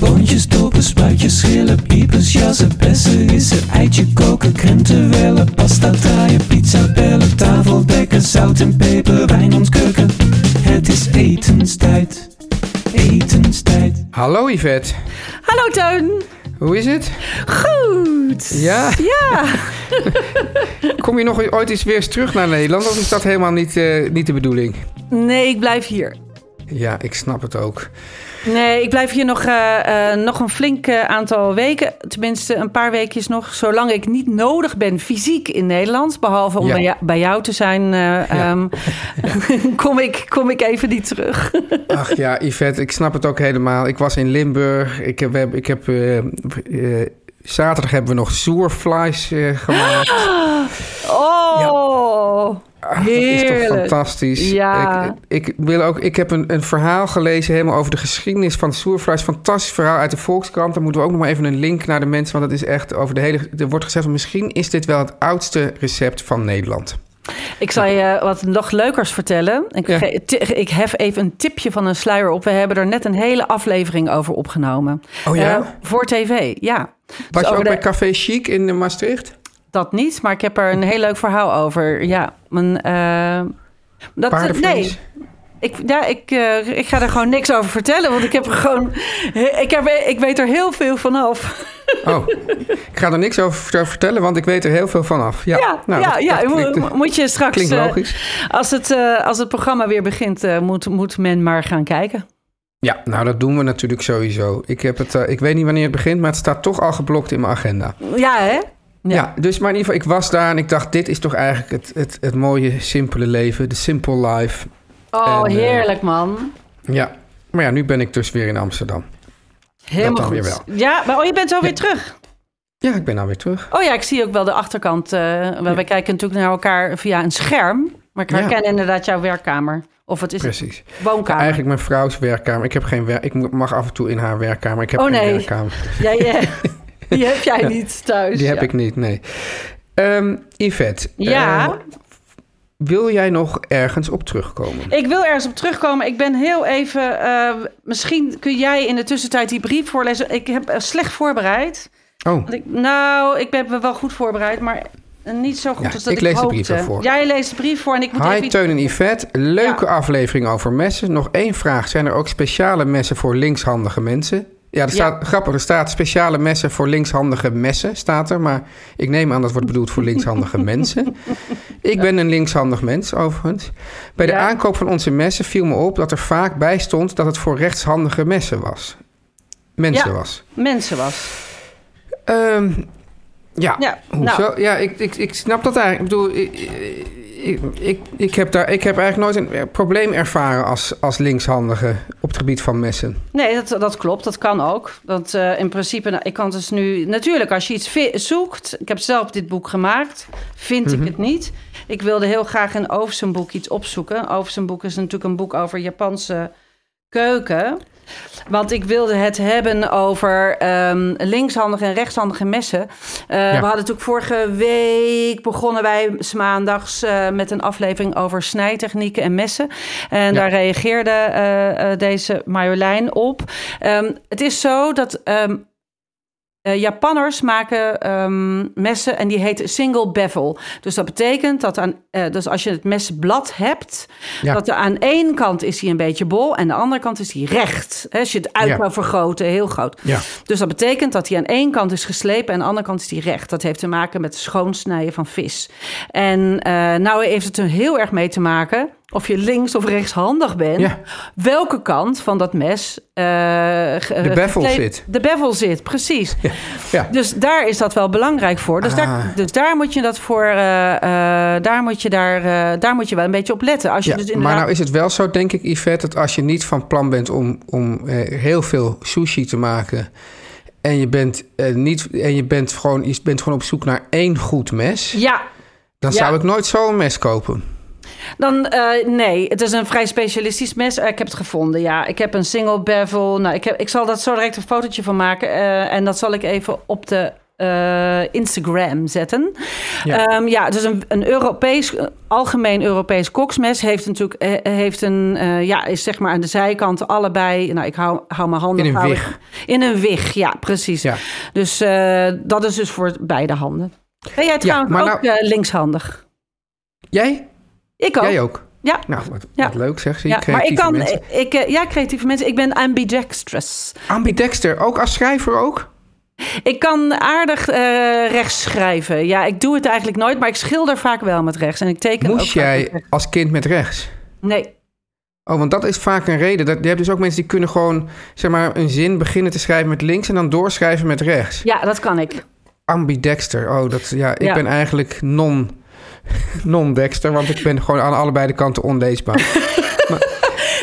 Boontjes, dopen, spuitjes, schillen, piepers, jassen, bessen, rissen, eitje koken, krenten wellen, pasta draaien, pizza bellen, tafel dekken, zout en peper, wijn ontkurken. Het is etenstijd, etenstijd. Hallo Yvette, Hallo Teun. hoe is het? Goed. Ja? Ja. Kom je nog ooit eens weer eens terug naar Nederland of is dat helemaal niet, eh, niet de bedoeling? Nee, ik blijf hier. Ja, ik snap het ook. Nee, ik blijf hier nog, eh, eh, nog een flink eh, aantal weken. Tenminste, een paar weekjes nog. Zolang ik niet nodig ben fysiek in Nederland. Behalve om Ja. bij, jou, bij jou te zijn, eh, ehm, kom, ik, kom ik even niet terug. Ach ja, Yvette, ik snap het ook helemaal. Ik was in Limburg. Ik heb, we hebben- ik heb eh, eh, zaterdag hebben we nog zoerflies eh, gemaakt. Oh. Ach, Ah, dat is toch heerlijk. fantastisch. Ja. Ik, ik, wil ook, ik heb een, een verhaal gelezen helemaal over de geschiedenis van soerflies. Fantastisch verhaal uit de Volkskrant. Daar moeten we ook nog maar even een link naar de mensen. Want dat is echt over de hele... Er wordt gezegd, misschien is dit wel het oudste recept van Nederland. Dus Ik zal je eh, wat nog leukers vertellen. Ik, Ja. ge- ti- ik hef even een tipje van een sluier op. We hebben er net een hele aflevering over opgenomen. Oh ja? Eh, voor tv, ja. Dus Was je over ook de- bij Café Chic in eh, Maastricht? Dat niet, maar ik heb er een heel leuk verhaal over. Ja, mijn... eh, dat, nee, Paardenvlees? ik, ja, ik, eh, ik ga er gewoon niks over vertellen, want ik heb er gewoon... Ik, heb, ik weet er heel veel vanaf. Oh, ik ga er niks over vert- vertellen, want ik weet er heel veel van af. Ja, Ja, nou, ja, dat- ja. dat mo- klinkt- moet je straks... klinkt eh, logisch. als, het, eh, als het programma weer begint, eh, moet, moet men maar gaan kijken. Ja, nou dat doen we natuurlijk sowieso. Ik, heb het, eh, ik weet niet wanneer het begint, maar het staat toch al geblokt in mijn agenda. Ja, hè? Ja. dus maar in ieder geval, ik was daar en ik dacht, dit is toch eigenlijk het, het, het mooie, simpele leven, de simple life. Oh, En, eh, heerlijk, man. Ja, maar ja, nu ben ik dus weer in Amsterdam. Helemaal dan goed. weer wel. Ja, maar oh, je bent zo weer terug. Ja, ik ben nou weer terug. Oh ja, ik zie ook wel de achterkant. eh want Wij kijken natuurlijk naar elkaar via een scherm. Maar ik Ja. herken inderdaad jouw werkkamer. Of wat is Precies. het? Woonkamer. Eigenlijk mijn vrouw's werkkamer. Ik heb geen werk. Ik mo- mag af en toe in haar werkkamer. Ik heb Oh, geen nee. werkkamer. Ja, ja. Die heb jij niet thuis. Die heb ja. ik niet, nee. Ehm, Yvette, Ja. eh, wil jij nog ergens op terugkomen? Ik wil ergens op terugkomen. Ik ben heel even. eh, misschien kun jij in de tussentijd die brief voorlezen. Ik heb eh, slecht voorbereid. Oh, Want ik, nou, ik ben wel goed voorbereid, maar niet zo goed Ja, als dat ik ik lees de hoopte. brief wel voor. Jij leest de brief voor en ik moet hi even iets- Teun en Yvette. Leuke aflevering over messen. Nog één vraag. Zijn er ook speciale messen voor linkshandige mensen? Ja, er staat, grappig, er staat speciale messen voor linkshandige messen, staat er. Maar ik neem aan dat wordt bedoeld voor linkshandige mensen. Ik ben een linkshandig mens, overigens. Bij de Ja. aankoop van onze messen viel me op dat er vaak bij stond dat het voor rechtshandige messen was. Mensen Ja. was. mensen was. Ehm ja, Ja, hoezo? nou. Ja, ik, ik, ik snap dat eigenlijk. Ik bedoel, ik, ik, ik, ik heb, daar, ik heb eigenlijk nooit een eh, probleem ervaren als, als linkshandige op het gebied van messen. Nee, dat, dat klopt. Dat kan ook. Want eh, in principe, nou, ik kan dus nu... Natuurlijk, als je iets vi- zoekt... Ik heb zelf dit boek gemaakt. Vind ik het niet. Ik wilde heel graag in Oversen boek iets opzoeken. Oversen boek is natuurlijk een boek over Japanse keuken. Want ik wilde het hebben over ehm, linkshandige en rechtshandige messen. Eh, We hadden natuurlijk vorige week begonnen wij 's maandags eh, met een aflevering over snijtechnieken en messen. En daar reageerde eh, eh, deze Marjolein op. Ehm, het is zo dat ehm, Eh, Japanners maken ehm, messen en die heet single bevel. Dus dat betekent dat aan, eh, dus als je het mesblad hebt, Ja. dat er aan één kant is hij een beetje bol en aan de andere kant is hij recht. Hè, als je het uit Ja. zou vergroten, heel groot. Ja. Dus dat betekent dat hij aan één kant is geslepen en aan de andere kant is hij recht. Dat heeft te maken met het schoonsnijden van vis. En eh, nou heeft het er heel erg mee te maken of je links of rechtshandig bent. Ja. Welke kant van dat mes... eh, ge- De bevel gekleed- zit. De bevel zit, precies. Ja. Dus daar is dat wel belangrijk voor. Dus, Ah. daar, dus daar moet je dat voor. eh, eh, daar, moet je daar, eh, daar moet je wel een beetje op letten. Als je Ja, dus maar inderdaad... nou is het wel zo, denk ik, Yvette, dat als je niet van plan bent om, om eh, heel veel sushi te maken. En je bent, eh, niet, en je bent, gewoon, je bent gewoon op zoek naar één goed mes. Ja, dan ja. zou ik nooit zo'n mes kopen. dan eh, nee. Het is een vrij specialistisch mes. Eh, ik heb het gevonden. Ja, ik heb een single bevel. Nou, ik, heb, ik zal dat zo direct een fotootje van maken. eh, en dat zal ik even op de. eh, Instagram zetten. Ja. Ja, ja dus een, een Europees, eh, algemeen Europees koksmes heeft natuurlijk, eh, heeft een, eh, ja, is zeg maar aan de zijkant allebei, nou, ik hou, hou mijn handen In een vouwen- wig. In een wig, ja, precies. Ja. Dus eh, dat is dus voor beide handen. Ben jij trouwens maar nou- ook eh, linkshandig? Jij? Ik ook. Jij ook? Ja. Nou, wat, Ja. wat leuk zeg. Zie je Ja, maar ik creatieve kan, mensen. ik, eh, ja, creatieve mensen. Ik ben ambidextrous. Ambidexter, ook als schrijver ook? Ik kan aardig eh, rechts schrijven. Ja, ik doe het eigenlijk nooit, maar ik schilder vaak wel met rechts. En ik teken ook Moest vaak met jij rechts. als kind met rechts? Nee, Oh, want dat is vaak een reden. Dat, je hebt dus ook mensen die kunnen gewoon zeg maar, een zin beginnen te schrijven met links en dan doorschrijven met rechts. ja, dat kan ik. Ambidexter. Oh, dat, ja, ik Ja. ben eigenlijk non, non-dexter, want ik ben gewoon aan allebei de kanten onleesbaar.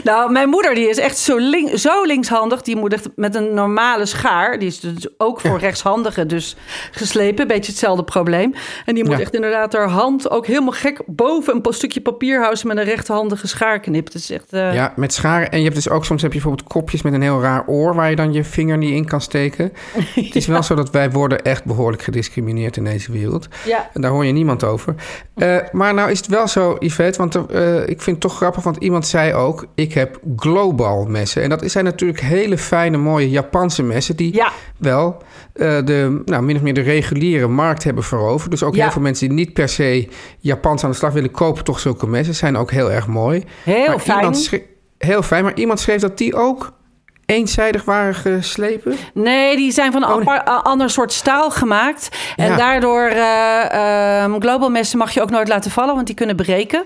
Nou, mijn moeder die is echt zo, link, zo linkshandig. Die moet echt met een normale schaar. Die is dus ook voor rechtshandigen dus geslepen. Beetje hetzelfde probleem. En die moet Ja. echt inderdaad haar hand ook helemaal gek boven een pa- stukje papier houden met een rechterhandige schaarknip. Dat is echt... eh, ja, met scharen. En je hebt dus ook soms heb je bijvoorbeeld kopjes met een heel raar oor waar je dan je vinger niet in kan steken. Het is wel zo dat wij worden echt behoorlijk gediscrimineerd in deze wereld. ja. En daar hoor je niemand over. Eh, maar nou is het wel zo, Yvette, want er, eh, ik vind het toch grappig, want iemand zei ook, ik heb global messen. En dat zijn natuurlijk hele fijne, mooie Japanse messen die Ja. wel eh, de, nou, min of meer de reguliere markt hebben veroverd. Dus ook Ja. heel veel mensen die niet per se Japans aan de slag willen kopen, toch zulke messen zijn ook heel erg mooi. Heel Maar fijn. iemand schre- heel fijn, maar iemand schreef dat die ook eenzijdig waren geslepen. Nee, die zijn van een Oh, nee. apar- a- ander soort staal gemaakt. En Ja. daardoor, eh ehm, global messen mag je ook nooit laten vallen, want die kunnen breken.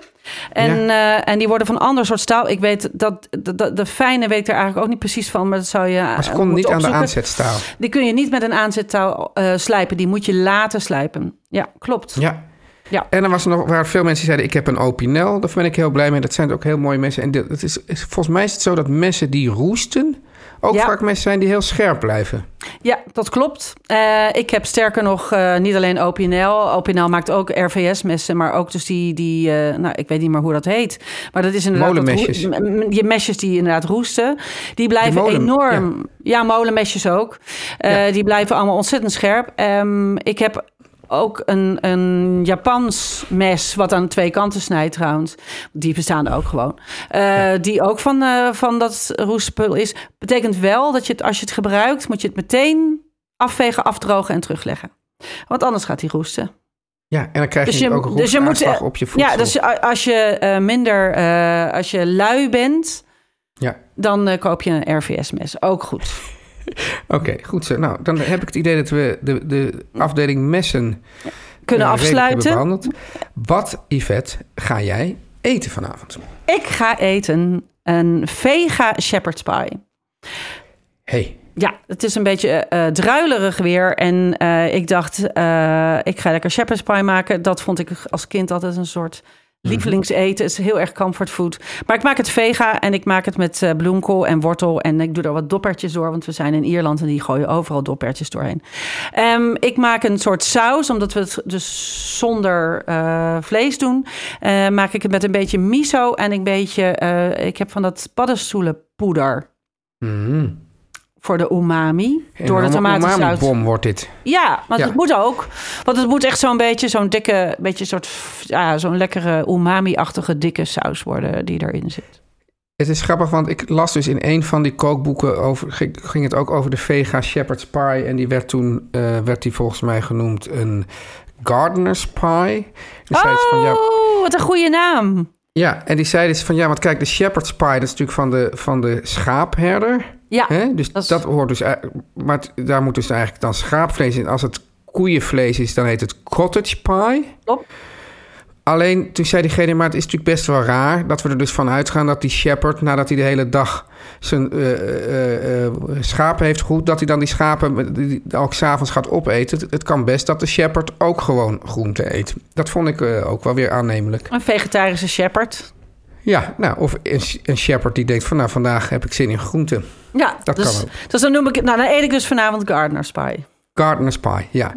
En, eh, en die worden van een ander soort staal. Ik weet dat, dat, dat- de fijne weet er eigenlijk ook niet precies van, maar dat zou je. eh, Maar ze konden niet aan de aanzetstaal. Die kun je niet met een aanzettaal eh, slijpen. Die moet je laten slijpen. Ja, klopt. Ja. Ja. En er was nog, waren veel mensen die zeiden, ik heb een opinel. Daar ben ik heel blij mee. Dat zijn ook heel mooie messen. En dit- het is, is- volgens mij is het zo dat messen die roesten... ook Ja. vaak messen zijn die heel scherp blijven. Ja, dat klopt. Eh, ik heb sterker nog eh, niet alleen OPNL. OPNL maakt ook RVS-messen, maar ook dus die, die eh, nou, ik weet niet meer hoe dat heet. Maar dat is inderdaad... dat Molenmesjes. roe- m- m- je mesjes die inderdaad roesten. Die blijven molen- enorm... Ja, molenmesjes ook. Eh, Die blijven allemaal ontzettend scherp. Ehm, ik heb ook een, een Japans mes, wat aan twee kanten snijdt trouwens. Die bestaan ook gewoon. Eh, Die ook van, eh, van dat roestspul is. Betekent wel dat je het, als je het gebruikt, moet je het meteen afvegen, afdrogen en terugleggen. Want anders gaat die roesten. Ja, en dan krijg je, ook een dus je moet, roestaanslag eh, op je voedsel. Ja, dus a- als je eh, minder, eh, als je lui bent, Ja. dan eh, koop je een RVS-mes. Ook goed. Oké, goed zo. Nou, dan heb ik het idee dat we de, de afdeling messen... Kunnen eh, redelijk hebben afsluiten. behandeld. Wat, Yvette, ga jij eten vanavond? Ik ga eten een vega shepherd's pie. hey, Ja, het is een beetje eh, eh, druilerig weer. En eh, ik dacht, eh, ik ga lekker shepherd's pie maken. Dat vond ik als kind altijd een soort lievelingseten. Het is heel erg comfort food. Maar ik maak het vega en ik maak het met eh, bloemkool en wortel. En ik doe er wat doppertjes door, want we zijn in Ierland... en die gooien overal doppertjes doorheen. Ehm, ik maak een soort saus, omdat we het dus zonder eh, vlees doen. Eh, maak ik het met een beetje miso en een beetje... eh, ik heb van dat paddenstoelenpoeder voor de umami. Mm. een door de tomatensaus. umami-bom wordt dit. Ja, want Ja. het moet ook. Want het moet echt zo'n beetje zo'n dikke, beetje soort, ja, zo'n lekkere umami-achtige dikke saus worden die erin zit. Het is grappig, want ik las dus in een van die kookboeken over, ging- ging het ook over de Vega Shepherd's Pie. En die werd toen, eh, werd die volgens mij genoemd een Gardener's Pie. Die zei dus van, ja, Oh, wat een goede naam. ja, en die zei dus van ja, want kijk, de Shepherd's Pie, dat is natuurlijk van de, van de schaapherder. Ja, Hè? Dus dat dat, is- hoort dus, ei- maar het- daar moet dus eigenlijk dan schaapvlees in. Als het koeienvlees is, dan heet het cottage pie. klopt. Alleen toen zei diegene, maar het is natuurlijk best wel raar dat we er dus van uitgaan dat die shepherd, nadat hij de hele dag zijn eh, eh, eh, schapen heeft gehoed, dat hij dan die schapen met- die- die ook s'avonds gaat opeten. Het, het kan best dat de shepherd ook gewoon groente eet. Dat vond ik eh, ook wel weer aannemelijk. Een vegetarische shepherd. Ja, nou, of een, een shepherd die denkt van nou, vandaag heb ik zin in groente. Ja, Dat dus, kan Dus dan noem ik het. Nou, dan eet ik dus vanavond Gardener's Pie. Gardener's Pie, ja.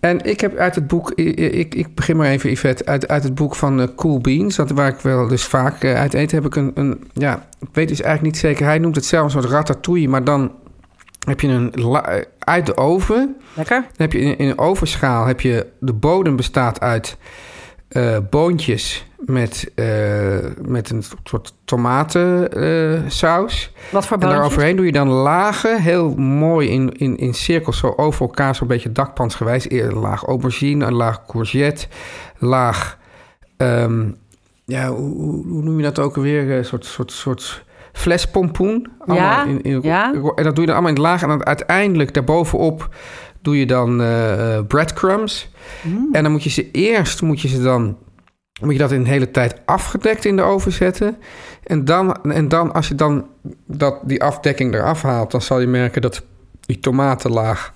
En ik heb uit het boek, i- i- ik, ik begin maar even Yvette, uit, uit het boek van eh, Cool Beans, dat, waar ik wel dus vaak eh, uit eet, heb ik een, een, ja, ik weet dus eigenlijk niet zeker, hij noemt het zelf een soort ratatouille, maar dan heb je een, la- eh, uit de oven, Lekker. dan heb je in, in een ovenschaal, heb je, de bodem bestaat uit eh, boontjes met, eh, met een soort tomatensaus. Wat voor En boontjes? daaroverheen doe je dan lagen, heel mooi in, in, in cirkels, zo over elkaar, zo'n beetje dakpansgewijs. Eer Een laag aubergine, een laag courgette, laag. ehm, ja, hoe, hoe- hoe noem je dat ook alweer? Een soort, soort, soort flespompoen. Allemaal in, in, ja. En dat doe je dan allemaal in laag. En dan uiteindelijk daarbovenop doe je dan eh, eh, breadcrumbs. Mm. En dan moet je ze eerst, moet je ze dan moet je dat een hele tijd afgedekt in de oven zetten. En dan, en dan als je dan dat, die afdekking eraf haalt, dan zal je merken dat die tomatenlaag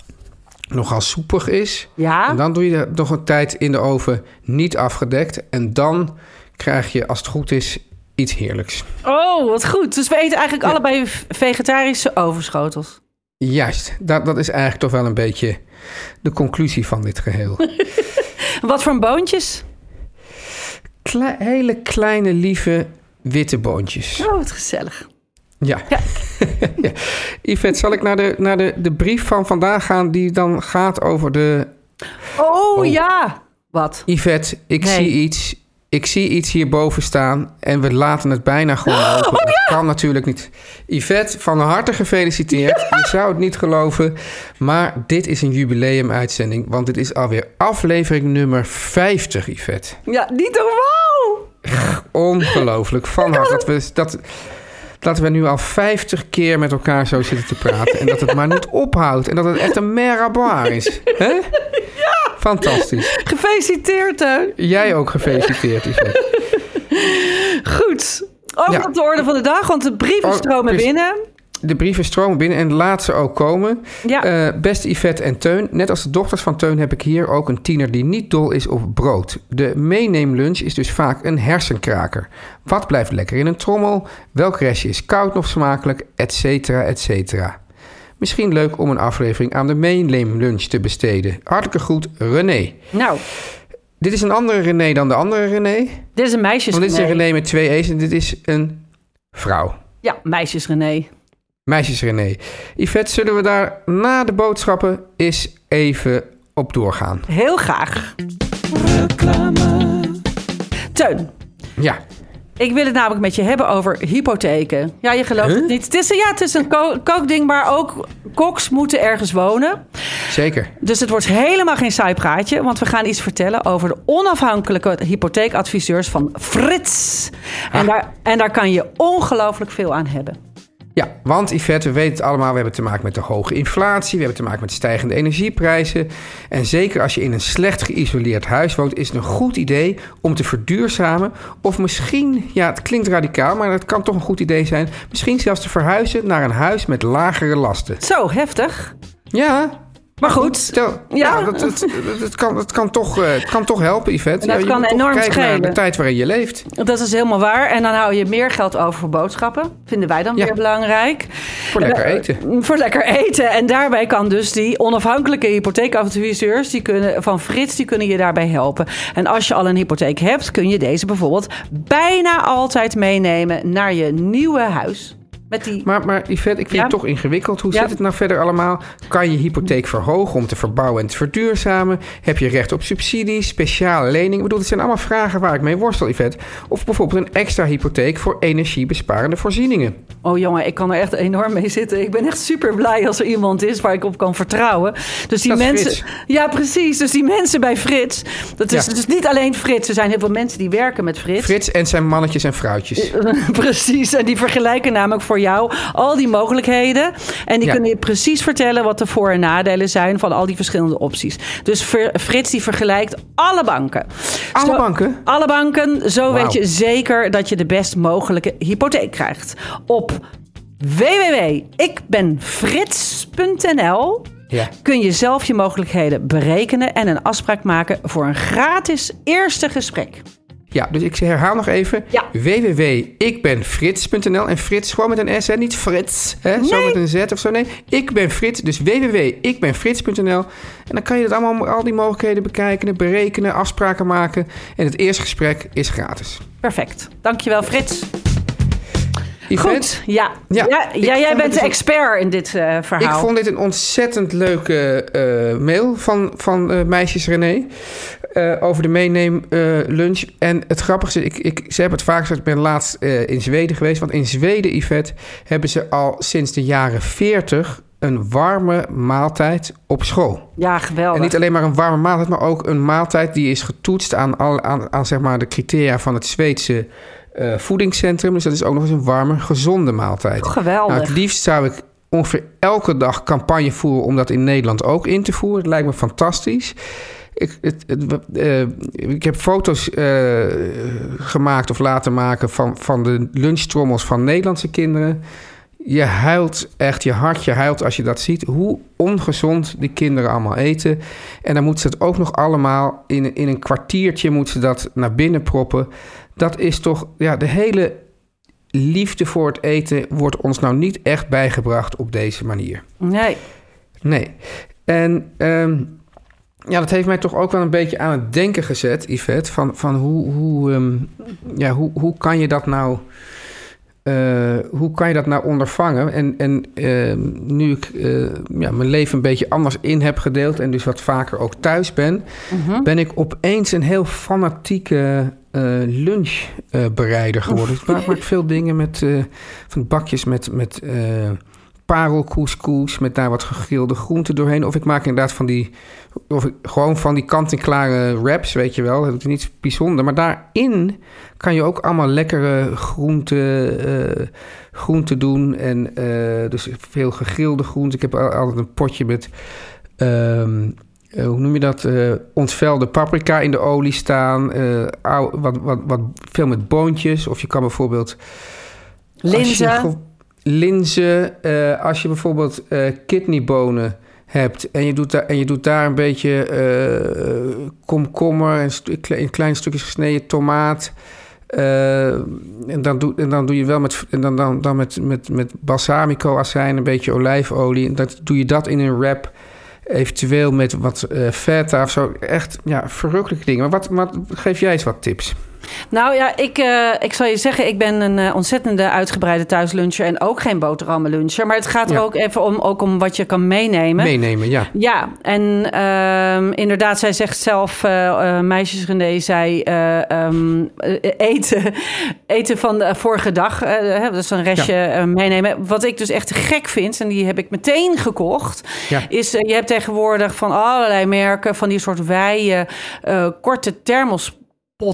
nogal soepig is. Ja. En dan doe je dat nog een tijd in de oven niet afgedekt. En dan krijg je, als het goed is, iets heerlijks. Oh, wat goed. Dus we eten eigenlijk allebei v- vegetarische overschotels. Juist, dat, dat is eigenlijk toch wel een beetje de conclusie van dit geheel. Wat voor boontjes? Kle- hele kleine, lieve witte boontjes. Oh, wat gezellig. Ja. ja. Yvette, zal ik naar, de, naar de, de brief van vandaag gaan die dan gaat over de... Oh, ja. Wat? Yvette, ik Nee. zie iets. Ik zie iets hierboven staan en we laten het bijna gewoon open. Dat kan natuurlijk niet. Yvette, van harte gefeliciteerd. Je zou het niet geloven, maar dit is een jubileumuitzending. Want dit is alweer aflevering nummer 50, Yvette. Ja, niet normaal. Ongelooflijk. Van harte dat we, dat, dat we nu al 50 keer met elkaar zo zitten te praten. En dat het maar niet ophoudt. En dat het echt een merabar is. hè? Fantastisch. Gefeliciteerd, hè. Jij ook gefeliciteerd, Yvette. Goed. Over Ja. op de orde van de dag, want de brieven Oh, stromen dus- binnen. De brieven stromen binnen en laat ze ook komen. Ja. Eh, beste Yvette en Teun, net als de dochters van Teun heb ik hier ook een tiener die niet dol is op brood. De meeneemlunch is dus vaak een hersenkraker. Wat blijft lekker in een trommel? Welk restje is koud nog smakelijk? Etcetera, etcetera. Misschien leuk om een aflevering aan de meeneemlunch te besteden. Hartelijke groet, René. Nou, Dit is een andere René dan de andere René. dit is een meisjes Want dit is een René met twee E's en dit is een vrouw. Ja, meisjes René. Meisjes René. Yvette, zullen we daar na de boodschappen eens even op doorgaan? Heel graag. Teun, Ja. ik wil het namelijk met je hebben over hypotheken. Ja, je gelooft het niet. Het is, een- ja, het is een ko- kookding, maar ook koks moeten ergens wonen. Zeker. Dus het wordt helemaal geen saai praatje, want we gaan iets vertellen over de onafhankelijke hypotheekadviseurs van Frits. Ah. En, daar, en daar kan je ongelooflijk veel aan hebben. Ja, want Yvette, we weten het allemaal, we hebben te maken met de hoge inflatie, we hebben te maken met stijgende energieprijzen. En zeker als je in een slecht geïsoleerd huis woont, is het een goed idee om te verduurzamen. Of misschien, ja, het klinkt radicaal, maar het kan toch een goed idee zijn. Misschien zelfs te verhuizen naar een huis met lagere lasten. Zo, heftig. Ja, Maar goed, Stel, ja, nou, dat, dat, dat- dat kan, dat kan toch, eh, het kan toch helpen, Yvette. Dat Ja, je kan moet toch enorm kijken naar schelen. de tijd waarin je leeft. Dat is helemaal waar. En dan hou je meer geld over voor boodschappen. Vinden wij dan Ja. weer belangrijk. Eh, mm, Voor lekker eten. Voor lekker eten. En daarbij kan dus die onafhankelijke hypotheekadviseurs die kunnen, van Frits, die kunnen je daarbij helpen. En als je al een hypotheek hebt, kun je deze bijvoorbeeld bijna altijd meenemen naar je nieuwe huis. Met die... Maar, maar Yvette, ik vind Ja. het toch ingewikkeld. Hoe Ja. zit het nou verder allemaal? Kan je hypotheek verhogen om te verbouwen en te verduurzamen? Heb je recht op subsidies, speciale lening? Ik bedoel, het zijn allemaal vragen waar ik mee worstel, Yvette. Of bijvoorbeeld een extra hypotheek voor energiebesparende voorzieningen. Oh jongen, ik kan er echt enorm mee zitten. Ik ben echt super blij als er iemand is waar ik op kan vertrouwen. Dus die Dat is mensen. Frits. Ja, precies. Dus die mensen bij Frits. Dat is Ja. dus niet alleen Frits. Er zijn heel veel mensen die werken met Frits. Frits en zijn mannetjes en vrouwtjes. Precies, en die vergelijken namelijk voor jou al die mogelijkheden. En die Ja. kunnen je precies vertellen wat de voor- en nadelen zijn van al die verschillende opties. Dus Ver- Frits die vergelijkt alle banken. Alle banken? Alle banken. Zo Wauw. weet je zeker dat je de best mogelijke hypotheek krijgt. Op www.ikbenfrits.nl Ja. kun je zelf je mogelijkheden berekenen en een afspraak maken voor een gratis eerste gesprek. Ja, dus ik herhaal nog even. Ja. www.ikbenfrits.nl En Frits gewoon met een S, hè? niet Frits. Hè? Zo Nee. met een Z of zo. Nee, ik ben Frits. Dus www.ikbenfrits.nl En dan kan je dat allemaal, al die mogelijkheden bekijken, berekenen, afspraken maken. En het eerste gesprek is gratis. Perfect. Dankjewel Frits. Yvette, Goed, ja. Ja, ja, ja, ik vond jij het bent de dus- expert in dit eh, Ik verhaal. vond dit een ontzettend leuke eh, mail van, van eh, meisjes René. eh, over de meeneem eh, lunch. En het grappigste, ik, ik, ze hebben het vaak gezegd, ik ben laatst eh, in Zweden geweest. Want in Zweden, Yvette, hebben ze al sinds de jaren 40 een warme maaltijd op school. Ja, En geweldig. niet alleen maar een warme maaltijd, maar ook een maaltijd die is getoetst aan, al, aan, aan zeg maar de criteria van het Zweedse eh, voedingscentrum. Dus dat is ook nog eens een warme, gezonde maaltijd. Geweldig. Nou, het liefst zou ik ongeveer elke dag campagne voeren om dat in Nederland ook in te voeren. Het lijkt me fantastisch. Ik, het, het- we- eh, ik heb foto's eh, gemaakt of laten maken van, van de lunchtrommels van Nederlandse kinderen. Je huilt echt, je hartje huilt als je dat ziet. Hoe ongezond die kinderen allemaal eten. En dan moeten ze het ook nog allemaal in, in een kwartiertje moeten ze dat naar binnen proppen. Dat is toch, ja, de hele liefde voor het eten wordt ons nou niet echt bijgebracht op deze manier. Nee, Nee. En ehm, ja, dat heeft mij toch ook wel een beetje aan het denken gezet, Yvette. Van, van hoe, hoe, ehm, ja, hoe, hoe kan je dat nou. eh, hoe kan je dat nou ondervangen? En, en ehm, nu ik eh, ja, mijn leven een beetje anders in heb gedeeld en dus wat vaker ook thuis ben, ben ik opeens een heel fanatieke eh, lunchbereider geworden. ik maak, maak veel dingen met eh, van bakjes met, met eh, parelkoeskoes met daar wat gegrilde groenten doorheen. Of ik maak inderdaad van die, of ik, gewoon van die kant-en-klare wraps, weet je wel. Dat is niets bijzonder. Maar daarin kan je ook allemaal lekkere groenten, eh, groenten doen. En eh, dus veel gegrilde groenten. Ik heb al- altijd een potje met, ehm, eh, hoe noem je dat? eh ontvelde paprika in de olie staan. Eh, oude- wat, wat, wat, veel met boontjes. Of je kan bijvoorbeeld linzen. als je ge- linzen, eh, als je bijvoorbeeld eh, kidneybonen hebt en je doet, daar en je doet daar een beetje eh, komkommer en stu- kle- in kleine stukjes gesneden tomaat. eh, en, dan doe, en dan doe je wel met, en dan, dan, dan met, met, met balsamico-azijn, een beetje olijfolie. En dat, doe je dat in een wrap, eventueel met wat eh feta of zo. Echt, ja, verrukkelijke dingen. Maar wat, wat, geef jij eens wat tips? Nou ja, ik, eh, ik zal je zeggen, ik ben een eh, ontzettende uitgebreide thuisluncher en ook geen boterhammenluncher. Maar het gaat er Ja. ook even om, ook om wat je kan meenemen. Meenemen, ja. Ja, en ehm, inderdaad, zij zegt zelf, eh, eh, meisjes René, zij eh, ehm, eh, eten, eten van de vorige dag. eh, hè, dus een restje eh, meenemen. Wat ik dus echt gek vind, en die heb ik meteen gekocht, Ja. is eh, je hebt tegenwoordig van allerlei merken van die soort wijde, eh, korte thermospotten.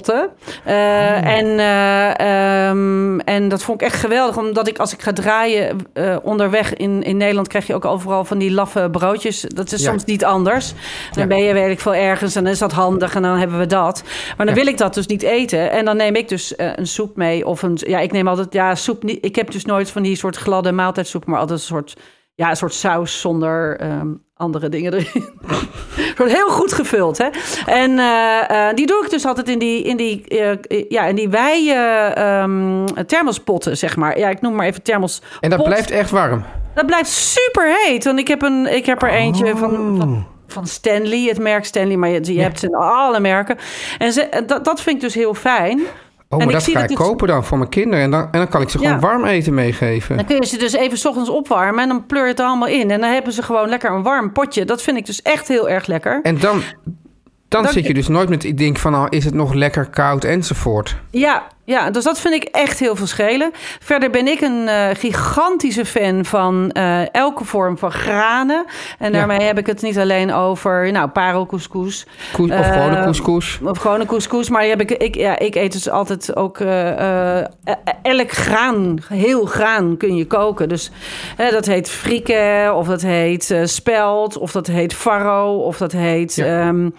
Eh, en, eh, ehm, en dat vond ik echt geweldig, omdat ik als ik ga draaien eh, onderweg in, in Nederland krijg je ook overal van die laffe broodjes. Dat is Ja. soms niet anders. Dan Ja. ben je, weet ik veel, ergens en dan is dat handig en dan hebben we dat. Maar dan Ja. wil ik dat dus niet eten. En dan neem ik dus eh, een soep mee of een... Ja, ik neem altijd... Ja, soep niet... Ik heb dus nooit van die soort gladde maaltijdsoep, maar altijd een soort... Ja, een soort saus zonder ehm, andere dingen erin. Wordt heel goed gevuld, hè? En eh, eh, die doe ik dus altijd in die, in die, eh, ja, in die wij thermospotten, zeg maar. Ja, ik noem maar even thermos. En dat pot. blijft echt warm. Oh, Dat blijft super heet. Want ik heb, een, ik heb er eentje van, van, van Stanley, het merk Stanley. Maar je, je hebt ze in alle merken. En ze, dat, dat vind ik dus heel fijn. Oh, maar ik dat zie ga ik dat dit- kopen dan voor mijn kinderen. En dan, en dan kan ik ze gewoon Ja. warm eten meegeven. Dan kun je ze dus even 's ochtends opwarmen en dan pleur je het er allemaal in. En dan hebben ze gewoon lekker een warm potje. Dat vind ik dus echt heel erg lekker. En dan, dan Dan- zit je dus nooit met het ding van... nou, is het nog lekker koud enzovoort. Ja, ja, dus dat vind ik echt heel veel schelen. Verder ben ik een eh, gigantische fan van eh, elke vorm van granen. En daarmee heb ik het niet alleen over nou, parelcouscous. Koes, of Eh, gewoon een couscous. Of gewone couscous. Maar die heb ik, ik, ja, ik eet dus altijd ook... eh, eh, elk graan, heel graan kun je koken. Dus hè, dat heet frieken, of dat heet eh, spelt... of dat heet farro, of dat heet... Ja. ehm,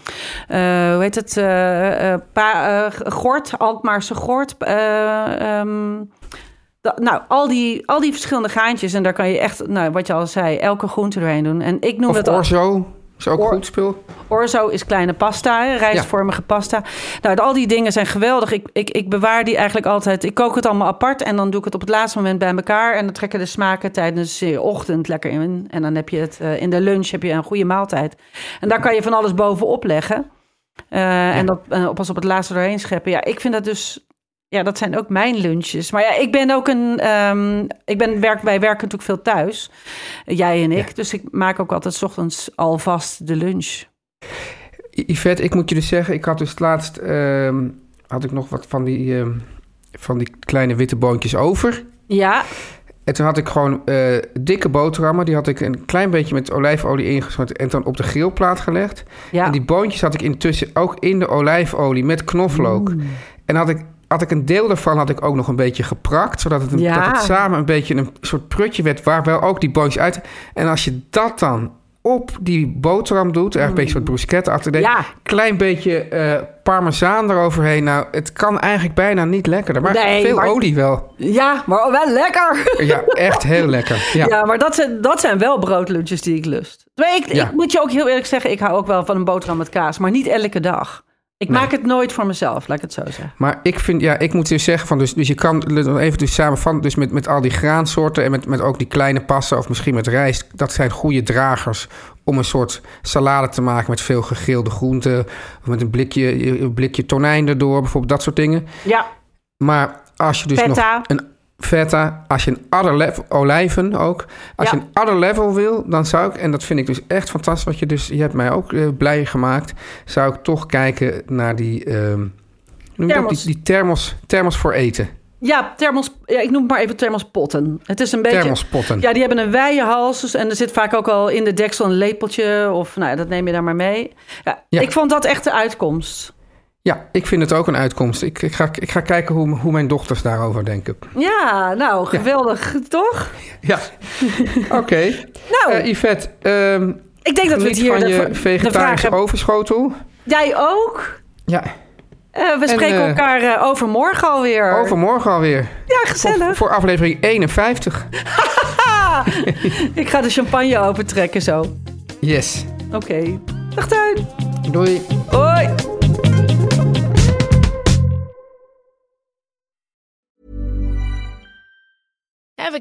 eh, hoe heet het? eh, eh, pa- eh, gort, Alkmaarse gort. eh, ehm, da- nou, al die, al die verschillende graantjes. En daar kan je echt, nou, wat je al zei, elke groente doorheen doen. En ik noem Of dat al- orzo. Is ook Or- goed spul. Orzo is kleine pasta, hè, rijstvormige pasta. Nou, al die dingen zijn geweldig. Ik, ik, ik bewaar die eigenlijk altijd. Ik kook het allemaal apart en dan doe ik het op het laatste moment bij elkaar. En dan trekken de smaken tijdens de ochtend lekker in. En dan heb je het eh, in de lunch heb je een goede maaltijd. En daar kan je van alles bovenop leggen. Eh, En dat eh, pas op het laatste doorheen scheppen. Ja, ik vind dat dus. Ja, dat zijn ook mijn lunches. Maar ja, ik ben ook een. ehm, ik ben werk, wij werken natuurlijk veel thuis. Jij en ik. Dus ik maak ook altijd 's ochtends alvast de lunch. I- Yvette, ik moet je dus zeggen, ik had dus laatst ehm, had ik nog wat van die, ehm, van die kleine witte boontjes over. Ja, En toen had ik gewoon eh, dikke boterhammen. Die had ik een klein beetje met olijfolie ingesmeten en dan op de grillplaat gelegd. ja. En die boontjes had ik intussen ook in de olijfolie met knoflook. Mm. En had ik, had ik een deel daarvan had ik ook nog een beetje geprakt. Zodat het, een- Ja. dat het samen een beetje een soort prutje werd waar wel ook die boontjes uit. En als je dat dan op die boterham doet, eigenlijk een beetje een soort bruschetta achter Mm. Ja. Klein beetje eh parmezaan eroverheen. Nou, het kan eigenlijk bijna niet lekkerder. Maar Nee, veel maar- olie wel. ja, maar oh, wel lekker. Ja, echt heel lekker. Ja. Ja, maar dat zijn, dat zijn wel broodlunches die ik lust. Maar ik, Ja. ik moet je ook heel eerlijk zeggen, ik hou ook wel van een boterham met kaas, maar niet elke dag. Ik maak het nooit voor mezelf, laat ik het zo zeggen. Maar ik vind, ja, ik moet dus zeggen van, dus, dus je kan even dus samenvatten, dus met, met al die graansoorten en met, met ook die kleine pasta of misschien met rijst, dat zijn goede dragers om een soort salade te maken met veel gegrilde groenten, of met een blikje, een blikje tonijn erdoor, bijvoorbeeld dat soort dingen. Ja, Maar als je dus Feta. nog een feta, als je een other level, olijven ook, als Ja. je een other level wil, dan zou ik, en dat vind ik dus echt fantastisch, wat je dus, je hebt mij ook eh, blij gemaakt, zou ik toch kijken naar die, ehm, hoe noem je dat? Thermos. die, die thermos, thermos voor eten, ja, thermos, ja, ik noem het maar even thermospotten. Het is een beetje... thermospotten. Ja, die hebben een wijde hals dus- en er zit vaak ook al in de deksel een lepeltje of nou, ja, dat neem je daar maar mee. Ja, Ja. Ik vond dat echt de uitkomst. Ja, ik vind het ook een uitkomst. Ik, ik, ga, ik ga kijken hoe, hoe mijn dochters daarover denken. Ja, nou, geweldig, toch? Ja, oké. Nou, Eh, Yvette, ehm ik denk dat we geniet het hier van de- je de vegetarische vragen- overschotel. Jij ook? Ja, Eh, we En, spreken eh, elkaar eh, overmorgen alweer. overmorgen alweer. Ja, gezellig. Voor aflevering 51. Ik ga de champagne opentrekken zo. Oké. Yes. Dag Tuin. Doei. Hoi. Ever